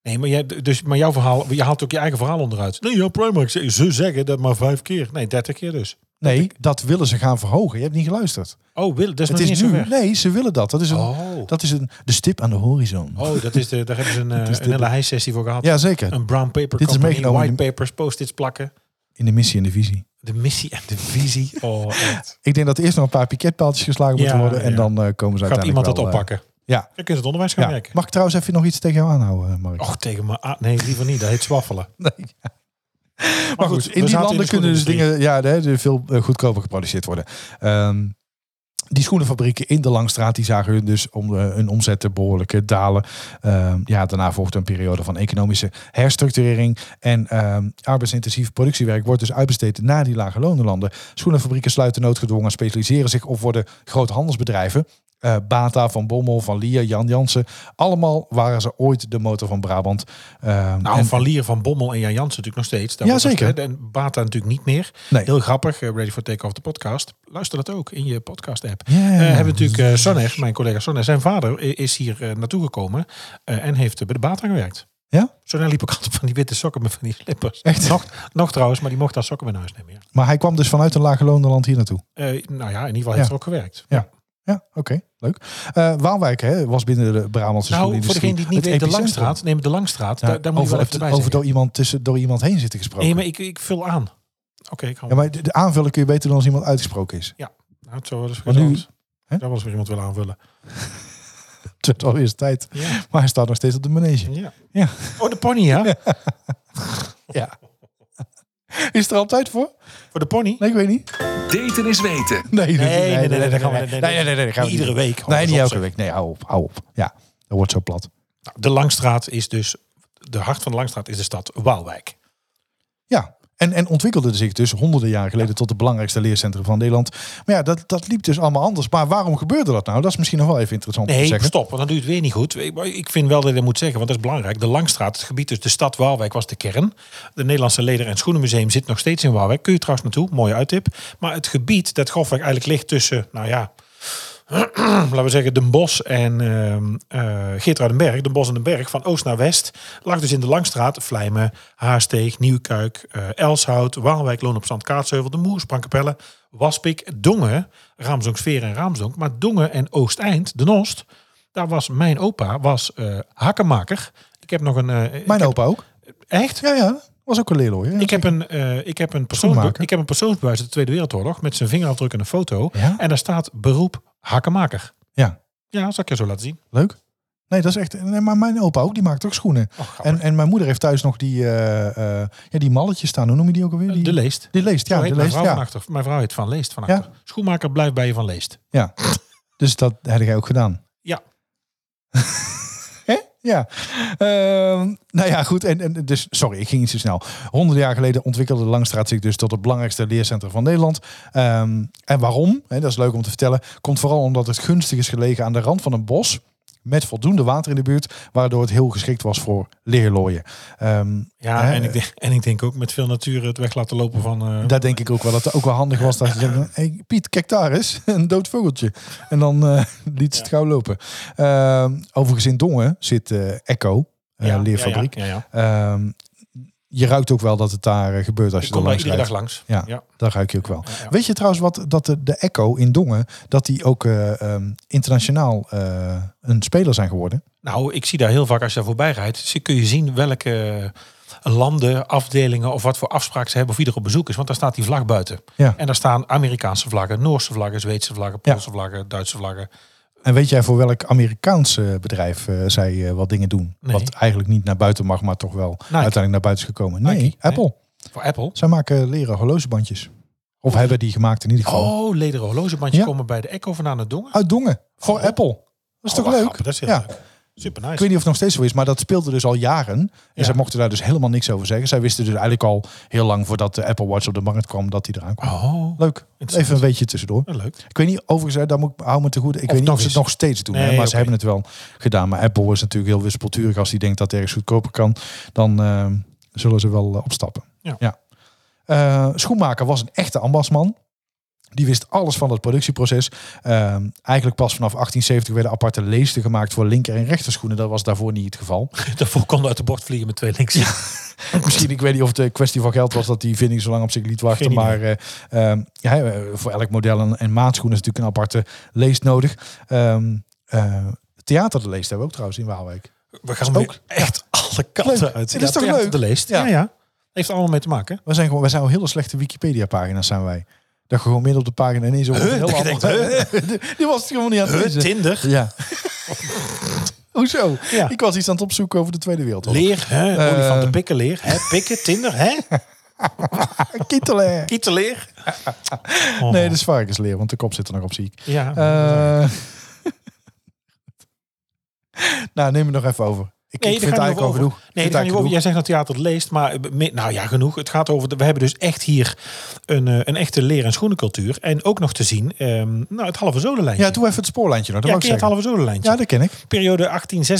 Nee, maar, jij, dus, maar jouw verhaal, je haalt ook je eigen verhaal onderuit. Nee, ja, Primark, ze ze zeggen dat maar vijf keer. Nee, 30 keer dus.
Nee, dat willen ze gaan verhogen. Je hebt niet geluisterd.
Oh, Wil, dat is
Het is
nog niet
nu.
zover.
Nee, ze willen dat. Dat is een,
Oh.
dat is een de stip aan de horizon.
Oh, dat is de, daar hebben ze een, eh,
is
een
de-
hele heissessie voor gehad.
Ja, zeker.
Een brown paper
Dit is
company,
meegenomen
white
in de-
papers, post-its plakken.
In de missie en de visie.
De missie en de visie. Oh, echt.
Ik denk dat eerst nog een paar piketpaaltjes geslagen moeten
Ja,
worden. En
ja.
dan eh, komen ze
Gaat
uiteindelijk
iemand dat
wel, eh,
oppakken?
ja.
Dan kunnen ze het onderwijs gaan
ja.
werken.
Mag ik trouwens even nog iets tegen jou aanhouden, eh, Mark?
Och, tegen me. ah, nee, liever niet. Dat heet zwaffelen.
Nee, ja. Maar,
goed,
goed,
we
in die
zaten in
landen
de
kunnen dus
schoenindustrie.
dingen ja, de- de veel eh, goedkoper geproduceerd worden. Ehm, die schoenenfabrieken in de Langstraat die zagen hun dus om eh, hun omzetten behoorlijk eh, dalen. Ehm, ja, daarna volgde een periode van economische herstructurering. En ehm, arbeidsintensief productiewerk wordt dus uitbesteed naar die lage lonenlanden. Schoenenfabrieken sluiten noodgedwongen, specialiseren zich of worden groothandelsbedrijven. eh, Bata, Van Bommel, Van Lier, Jan Jansen. Allemaal waren ze ooit de motor van Brabant. Ehm,
Nou,
en-
Van Lier, Van Bommel en Jan Jansen natuurlijk nog steeds. Daar
Ja,
wordt nog
zeker.
steeds- En Bata natuurlijk niet meer.
Nee.
Heel grappig, eh, Ready for Takeoff, de podcast. Luister dat ook in je podcast-app.
Ja.
Eh, hebben we natuurlijk eh Sonner, mijn collega Sonner. Zijn vader i- is hier eh, naartoe gekomen eh, en heeft eh, bij de Bata gewerkt.
Ja?
Sonner liep ook altijd van die witte sokken met van die slippers.
Echt?
Nog, nog trouwens, maar die mocht daar sokken mee naar huis nemen. Ja.
Maar hij kwam dus vanuit een lage land hier naartoe.
Eh, nou ja, in ieder geval heeft
Ja. Dus
er ook gewerkt.
Ja. Ja, oké, leuk. Eh Waalwijk hè, was binnen de Brabantse
Nou, voor
schoenindustrie
degene die het niet
het
weet, de
epicentrum.
Langstraat. Neem de Langstraat,
Ja,
daar, daar moet je
over,
wel even bij
over
zeggen.
door iemand, tussen, door iemand heen zitten gesproken.
Nee, maar ik, ik vul aan. Oké, ik hou
ja, maar de, de aanvullen kun je beter doen als iemand uitgesproken is.
Nou, het zou wel eens
Maar nu-
gezond.
Hè?
Dat was weer iemand willen aanvullen.
Het wordt alweer eens tijd.
Ja.
Maar hij staat nog steeds op de manege.
ja.
Ja.
Oh, de pony, ja?
Ja. Is er al tijd voor?
Voor de pony?
Nee, ik weet niet.
Daten is weten.
Nee, dat-
nee, nee, nee,
dat gaan we-
nee,
nee,
nee,
nee, nee, nee, dat gaan we
Iedere
niet.
week.
Nee, niet
Anders
elke
op,
week. Nee, hou op, hou op. Ja, dat wordt zo plat.
zeg. Nou, de Langstraat is dus... De hart van de Langstraat is de stad Waalwijk.
Ja, en, en ontwikkelde zich dus honderden jaren geleden tot het belangrijkste leercentrum van Nederland. Maar ja, dat, dat liep dus allemaal anders. Maar waarom gebeurde dat nou? Dat is misschien nog wel even interessant om te
Nee,
zeggen.
stop, want dan doe je het weer niet goed. Ik- maar Ik vind wel dat je dat moet zeggen, want dat is belangrijk. De Langstraat, het gebied, dus de stad Waalwijk was de kern. De Nederlandse Leder- en Schoenenmuseum zit nog steeds in Waalwijk. Kun je trouwens naartoe, mooie uittip. Maar het gebied dat grofweg eigenlijk ligt tussen, nou ja... laten we zeggen, Den Bosch en ehm eh Geertruidenberg. Den Bosch en Den Berg, van oost naar west. Lag dus in de Langstraat, Vlijmen, Haarsteeg, Nieuwkuik, eh, Elshout, Waalwijk, Loon op Zand, Kaatsheuvel, De Moer, Sprangkapelle, Waspik, Dongen, Raamzongsfeer en Raamzonk. Maar Dongen en Oosteind, Den Oost, daar was mijn opa, was eh, hakkenmaker. Ik heb nog een... eh, ik
Mijn
heb-
opa ook.
Echt?
Ja, ja. Was ook een leerlooi. hè?
Ik heb, een, eh, ik, heb een persoons,
Schoenmaker.
ik heb een persoonsbewijs uit de Tweede Wereldoorlog met zijn vingerafdruk en een foto.
Ja?
En daar staat beroep hakkenmaker.
Ja.
Ja, zal ik je zo laten zien.
Leuk. Nee, dat is echt... Nee, maar mijn opa ook, die maakt ook schoenen.
Oh, grappig.
En, en mijn moeder heeft thuis nog die, eh, eh, ja, die malletjes staan. Hoe noem je die ook alweer? Die,
Eh, De leest.
die leest,
Zo
ja.
heet
De
mijn,
leest,
vrouw van
ja.
achter. mijn vrouw heet Van Leest van
Ja.
achter. Schoenmaker blijft bij je Van Leest.
ja. Dus dat heb jij ook gedaan.
Ja.
Hè? Ja. Ehm, nou ja, goed. En, en dus, sorry, ik ging iets te snel. Honderden jaar geleden ontwikkelde de Langstraat zich dus tot het belangrijkste leercentrum van Nederland. Ehm, en waarom? Hè, dat is leuk om te vertellen. Komt vooral omdat het gunstig is gelegen aan de rand van een bos. Met voldoende water in de buurt. Waardoor het heel geschikt was voor leerlooien. Ehm,
Ja,
Hè?
en, ik denk, en ik denk ook met veel natuur het weg laten lopen van... eh,
daar denk ik ook wel dat het ook wel handig was. Dat je zegt, hey, Piet, kijk daar eens. Een dood vogeltje. En dan eh, liet ze het gauw lopen. Ehm, overigens in Dongen zit eh, Echo. eh,
ja,
leerfabriek.
Ja, ja, ja, ja.
Ehm, je ruikt ook wel dat het daar eh, gebeurt als
Ik
je er
kom daar
langs
iedere dag
rijdt.
langs.
Ja,
Ja.
daar ruik je ook wel.
Ja, ja.
Weet je trouwens wat dat de, de Echo in Dongen dat die ook eh, ehm, internationaal eh, een speler zijn geworden?
Nou, ik zie daar heel vaak als je daar voorbij rijdt. zie- kun je zien welke eh, landen, afdelingen of wat voor afspraak ze hebben of wie er op bezoek is. Want daar staat die vlag buiten.
Ja.
En daar staan Amerikaanse vlaggen, Noorse vlaggen, Zweedse vlaggen,
Ja.
Poolse vlaggen, Duitse vlaggen.
En weet jij voor welk Amerikaans eh, bedrijf eh, zij eh, wat dingen doen?
Nee.
Wat eigenlijk niet naar buiten mag, maar toch wel uiteindelijk naar buiten is gekomen. Nee,
Nike,
Apple.
Voor Apple.
Zij maken eh, leren horlogebandjes. Of hebben die gemaakt in ieder geval.
Oh, lederen horlogebandjes
Ja.
komen bij de Echo vandaan het Dongen.
Uit Dongen. Voor
Oh.
Apple. Dat is
Oh,
toch
wat
leuk?
grappig, Dat is heel
Ja.
leuk. Super nice.
Ik weet niet of het nog steeds zo is, maar dat speelde dus al jaren. En
Ja.
zij mochten daar dus helemaal niks over zeggen. Zij wisten dus eigenlijk al heel lang voordat de Apple Watch op de markt kwam dat die eraan kwam.
Oh,
Leuk.
interessant.
Even een beetje tussendoor.
Ja, Oh, leuk.
Ik weet niet, overigens, hè, daar moet ik hou me te goed. Ik weet niet
nog
of ze het
eens.
nog steeds doen, hè,
Nee,
maar ze
oké.
hebben het wel gedaan. Maar Apple is natuurlijk heel wispelturig. Als die denkt dat het ergens goedkoper kan, dan eh, zullen ze wel eh, opstappen.
Ja.
Eh, Schoenmaker was een echte ambasman. Die wist alles van het productieproces. Eh, eigenlijk pas vanaf 1870 werden aparte leesten gemaakt voor linker- en rechterschoenen. Dat was daarvoor niet het geval.
Daarvoor kon uit de bocht vliegen met twee links.
Misschien, ik weet niet of het een kwestie van geld was dat die vinding zo lang op zich liet wachten.
Geen
Maar
idee.
eh, ehm, ja, eh, voor elk model en, en maatschoen is natuurlijk een aparte leest nodig. Ehm eh, theater de leest hebben we ook trouwens in Waalwijk.
We gaan ook
Ook.
echt alle kanten
Leuk.
uit.
Dit is toch
theater
leuk?
De leest.
Ja.
Ja. ja, Heeft er allemaal mee te maken.
We zijn gewoon, we zijn wel hele slechte Wikipedia pagina's zijn wij. Dat je gewoon midden op de pagina ineens over heel
dat je denkt,
Die was het gewoon niet aan het
Huh,
lezen.
Tinder.
Ja. Hoezo?
Ja.
Ik was iets aan het opzoeken over de Tweede Wereldoorlog.
Leer, hè?
Eh.
olifanten pikken leer. Hè? Pikken, Tinder, hè?
Ah, Kittelen.
Kietenleer. Oh.
Nee, dat is varkensleer, want de kop zit er nog op, zie ik.
Ja.
Eh, nou, neem het nog even over. Ik ik
daar
vind het
gaan we
eigenlijk al
over.
genoeg. Ik
Nee,
vind
daar
het
gaan we
eigenlijk
over. Jij zegt dat theater het leest, maar eh, me- nou ja, genoeg. Het gaat over. de- we hebben dus echt hier een, eh, een echte leer- en schoenencultuur. En ook nog te zien, ehm, nou, het halve zolenlijntje.
Ja, doe even het spoorlijntje. Nou, dat
Ja,
mag
ken
ik
je
zeggen.
het halve zolenlijntje.
Ja, dat ken ik.
Periode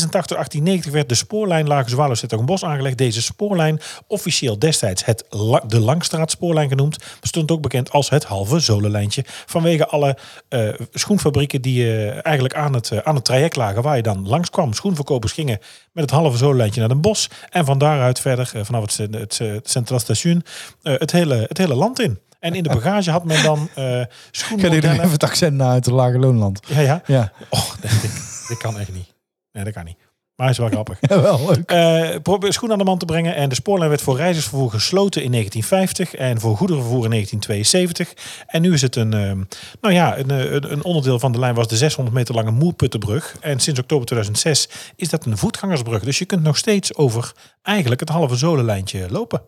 1886-1890 werd de spoorlijn Lagen een bos aangelegd. Deze spoorlijn, officieel destijds het La- de Langstraatspoorlijn genoemd, stond ook bekend als het halve zolenlijntje. Vanwege alle eh, schoenfabrieken die eh, eigenlijk aan het, eh, aan het traject lagen waar je dan langs kwam. Schoenverkopers gingen met het halve zolenlijntje naar Den Bosch. En van daaruit verder, eh, vanaf het, eh, het, eh, het Centraal Station, eh, het, hele, het hele land in. En in de bagage had men dan
Ik
eh
ga iedereen even
schoenmodellen.
het accent na uit het lage loonland.
Ja, ja.
Ja,
Och, nee, Oh, dit, dit kan echt niet. Nee, dat kan niet. Maar is wel grappig.
wel leuk.
Eh, probeer schoen aan de man te brengen. En de spoorlijn werd voor reizigersvervoer gesloten in 1950 en voor goederenvervoer in 1972. En nu is het een, ehm, nou ja, een, eh, een, een onderdeel van de lijn was de 600 meter lange Moerputtenbrug. En sinds oktober 2006 is dat een voetgangersbrug. Dus je kunt nog steeds over eigenlijk het halve zolenlijntje lopen.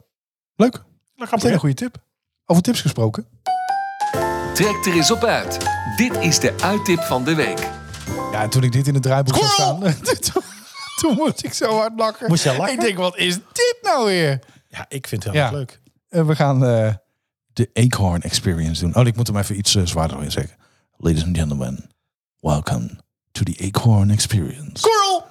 Leuk. Dat
Dat
is een hele goede tip. Over tips gesproken.
Trek er eens op uit. Dit is de uittip van de week.
Ja, en toen ik dit in het draaiboek zag staan,
Squirrel!
toen, toen moest ik zo hard lachen.
Moest je lachen?
Ik denk, wat is dit nou weer?
Ja, ik vind het heel
Ja.
erg leuk.
En we gaan eh, de Acorn Experience doen. Oh, ik moet hem even iets eh, zwaarder in zeggen. Ladies and gentlemen, welcome to the Acorn Experience.
Coral!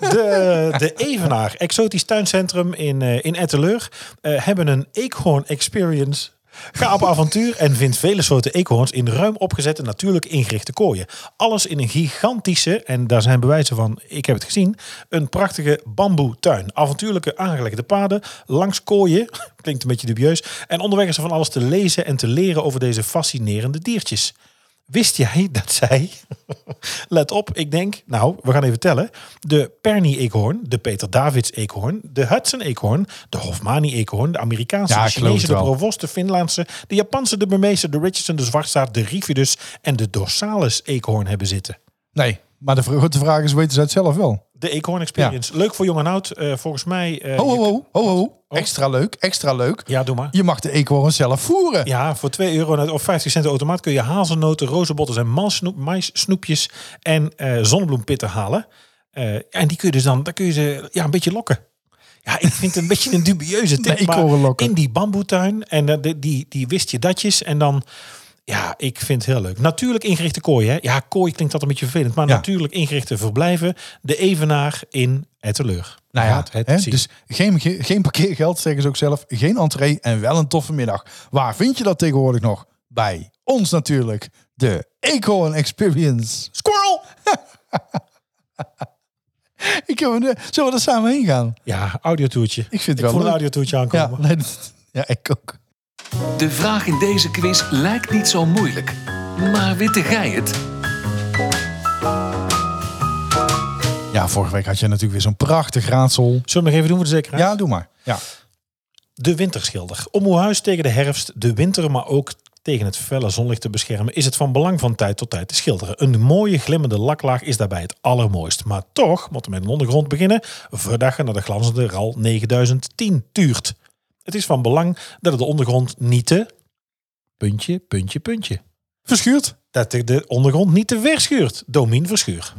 De, de Evenaar, exotisch tuincentrum in, eh, in Etteleur, eh, hebben een eekhoorn experience. Ga op avontuur en vind vele soorten eekhoorns in ruim opgezette, natuurlijk ingerichte kooien. Alles in een gigantische, en daar zijn bewijzen van, ik heb het gezien, een prachtige bamboetuin. Avontuurlijke aangelegde paden, langs kooien, klinkt een beetje dubieus, en onderweg is er van alles te lezen en te leren over deze fascinerende diertjes. Wist jij dat zij, let op, ik denk, nou, we gaan even tellen, de Perny-eekhoorn, de Peter Davids-eekhoorn, de Hudson-eekhoorn, de Hofmani-eekhoorn, de Amerikaanse,
Ja,
de
ik geloof
Chinese, de
het wel.
Provost, de Finlandse, de Japanse, de Burmeese, de Richardson, de Zwartstaart, de Rifidus en de Dorsalis-eekhoorn hebben zitten.
Nee, maar de, vr- de vraag is, weten ze het zelf wel?
De Eekhoorn Experience. Leuk voor jong en oud. eh, volgens mij... eh,
Ho, ho, ho, ho, ho. Extra leuk, extra leuk.
Oh. Ja, doe maar.
Je mag de eekhoorn zelf voeren.
Ja, voor 2 euro of 50 cent de automaat kun je hazelnoten, rozenbotters en malsnoep, maissnoepjes en eh, zonnebloempitten halen. Eh, en die kun je dus dan, dan kun je ze ja, een beetje lokken. Ja, ik vind het een beetje een dubieuze tip.
Nee, ik
maar
hoor een lokken.
in die bamboetuin en eh, die, die, die wist je datjes en dan... Ja, ik vind het heel leuk. Natuurlijk ingerichte kooi, hè? Ja, kooi klinkt altijd een beetje vervelend. Maar
Ja.
natuurlijk ingerichte verblijven. De evenaar in Etteleur.
Nou ja,
Gaat het
hè,
zien.
dus geen, ge- geen parkeergeld, zeggen ze ook zelf. Geen entree en wel een toffe middag. Waar vind je dat tegenwoordig nog? Bij ons natuurlijk, de Acorn Experience.
Squirrel!
Ik heb een, zullen we er samen heen gaan?
Ja, audiotoertje.
Ik vind het
Ik
wel
voel een
leuk.
audiotoertje aankomen.
Ja, nee, dat- ja, ik ook.
De vraag in deze quiz lijkt niet zo moeilijk. Maar witte gij het?
Ja, vorige week had je natuurlijk weer zo'n prachtig raadsel.
Zullen we nog even doen voor de zekerheid?
Ja, doe maar. Ja.
De winterschilder. Om uw huis tegen de herfst, de winter, maar ook tegen het felle zonlicht te beschermen, is het van belang van tijd tot tijd te schilderen. Een mooie glimmende laklaag is daarbij het allermooist. Maar toch, moeten we met een ondergrond beginnen, verdaggen naar de glanzende RAL 9010 tuurt. Het is van belang dat het de ondergrond niet te... Puntje, puntje, puntje.
Verschuurd.
Dat de- de ondergrond niet te verschuurt. Domin Verschuur.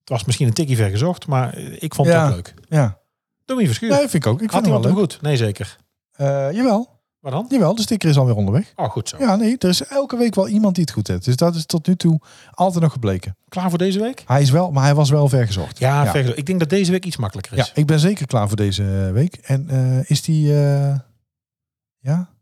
Het was misschien een tikkie ver gezocht, maar eh, ik vond
Ja.
het ook leuk.
Ja,
Domin Verschuur.
nee, vind ik ook. Ik
Had
vind hem
iemand
wel
hem
leuk.
goed? Nee, zeker.
Eh, jawel,
Waar dan?
jawel, de sticker is alweer onderweg.
Oh, goed zo.
Ja, nee, er is elke week wel iemand die het goed heeft. Dus dat is tot nu toe altijd nog gebleken.
Klaar voor deze week?
Hij is wel, maar hij was wel vergezocht.
Ja,
Ja.
vergezocht. ik denk dat deze week iets makkelijker is.
Ja, ik ben zeker klaar voor deze week. En eh, is die... eh, ja?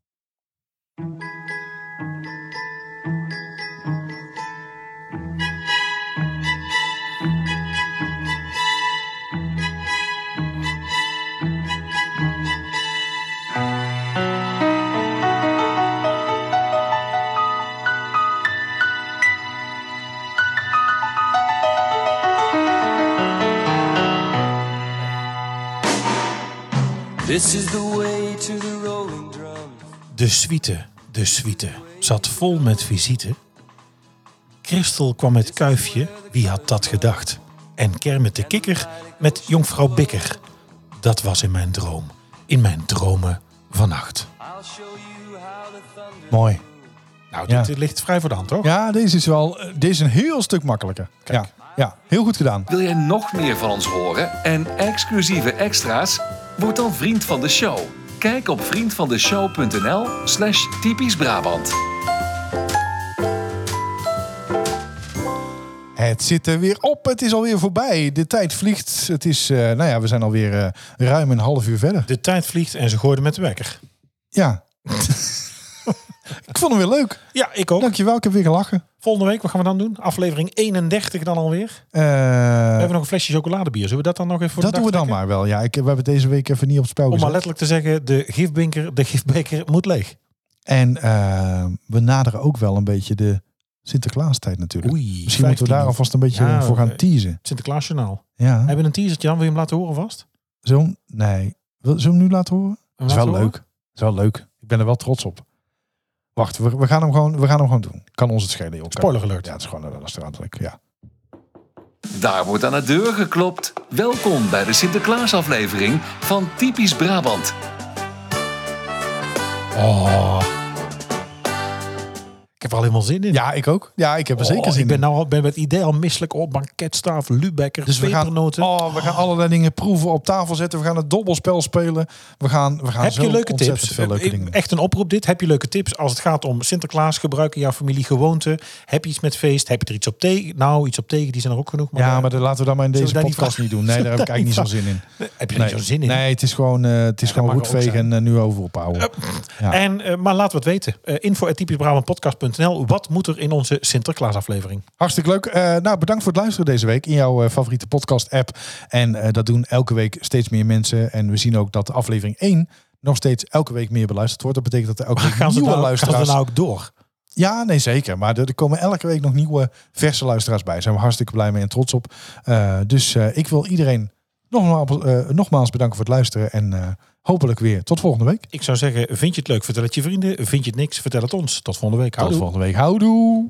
This is the way to the rolling drum.
De suite, de suite, zat vol met visite. Christel kwam met Kuifje, wie had dat gedacht? En Kermit de Kikker met Jonkvrouw Bikker. Dat was in mijn droom, in mijn dromen vannacht.
I'll show you how the thunder.
Mooi.
Nou,
Ja.
dit ligt vrij voor de hand, toch?
Ja, deze is wel... eh, Deze is een heel stuk makkelijker.
Kijk.
Ja. Ja, heel goed gedaan.
Wil jij nog meer van ons horen en exclusieve extra's? Word dan vriend van de show. Kijk op vriendvandeshow.nl slash typisch Brabant.
Het zit er weer op. Het is alweer voorbij. De tijd vliegt. Het is, eh, nou ja, we zijn alweer eh ruim een half uur verder.
De tijd vliegt en ze gooiden met de wekker.
Ja. ik vond hem weer leuk.
Ja, ik ook.
Dankjewel, ik heb weer gelachen.
Volgende week, wat gaan we dan doen? Aflevering 31 dan alweer. We
Eh,
hebben nog een flesje chocoladebier. Zullen we dat dan nog even voor
dat
de
doen we
dag
dan
trekken?
maar wel. Ja, ik, we hebben deze week even niet op het spel
Om maar
gezet.
letterlijk te zeggen, de gifbeker, de gifbeker moet leeg.
En eh, we naderen ook wel een beetje de Sinterklaastijd natuurlijk.
Oei.
Misschien moeten we daar alvast een beetje
Ja,
voor gaan
oké.
teasen.
Sinterklaasjournaal.
Ja,
Hebben we een teasertje dan? Wil je hem laten horen vast?
zo'n... Nee. Wil- Zullen we hem nu laten horen?
Hem
Dat is wel
laten
leuk.
horen?
Dat is wel leuk. Ik ben er wel trots op. Wacht, we, we, gaan, hem gewoon, we gaan hem gewoon doen. Kan ons het schelen, joh. Kan-
Spoiler alert.
Ja, het is gewoon eh, dat is raadelijk. Ja.
Daar wordt aan de deur geklopt. Welkom bij de Sinterklaasaflevering van Typisch Brabant.
Oh.
Ik heb er al helemaal zin in.
ja, ik ook. Ja, ik heb er zeker
Oh,
zin
ik ben
in.
nou al ben met het idee al misselijk op banketstaaf, Lübecker,
Dus we gaan,
pepernoten.
oh, we gaan allerlei dingen proeven, op tafel zetten. We gaan het dobbelspel spelen. We gaan, we gaan
Heb
zo
je leuke
ontzettend
tips?
veel leuke
Eh,
dingen doen.
Echt een oproep dit. Heb je leuke tips als het gaat om Sinterklaas? Gebruiken jouw familie gewoonten? Heb je iets met feest? Heb je er iets op tegen? Nou, iets op tegen, die zijn er ook genoeg.
Ja,
eh,
maar dat laten we dan maar in deze
Zullen we daar niet
podcast
van-
niet doen. Nee, daar heb ik eigenlijk niet zo'n zin in.
heb je er
Nee,
niet zo'n zin in?
nee het is gewoon, eh het is
dat
gewoon
mag er
goed
ook
vegen en eh, nu over ophouden. Ja.
En, eh, maar laten we het weten. Uh, info.typischbrabantpodcast.nl Wat moet er in onze Sinterklaas aflevering?
Hartstikke leuk. Eh, nou, bedankt voor het luisteren deze week in jouw eh, favoriete podcast-app. En eh, dat doen elke week steeds meer mensen. En we zien ook dat aflevering 1 nog steeds elke week meer beluisterd wordt. Dat betekent dat er elke week
Gaan ze,
nieuwe
nou, gaan ze
luisteraars...
er nou ook door?
Ja, nee, zeker. Maar er er komen elke week nog nieuwe verse luisteraars bij. Daar zijn we hartstikke blij mee en trots op. Eh, dus eh, ik wil iedereen nogmaals, eh, nogmaals bedanken voor het luisteren. En eh, hopelijk weer tot volgende week.
Ik zou zeggen, vind je het leuk? Vertel het je vrienden. Vind je het niks? Vertel het ons. Tot volgende week.
Tot
Houdoe.
volgende week. Houdoe!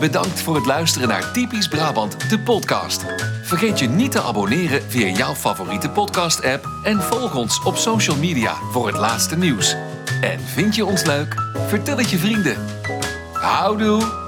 Bedankt voor het luisteren naar Typisch Brabant, de podcast. Vergeet je niet te abonneren via jouw favoriete podcast-app en volg ons op social media voor het laatste nieuws. En vind je ons leuk? Vertel het je vrienden. Houdoe!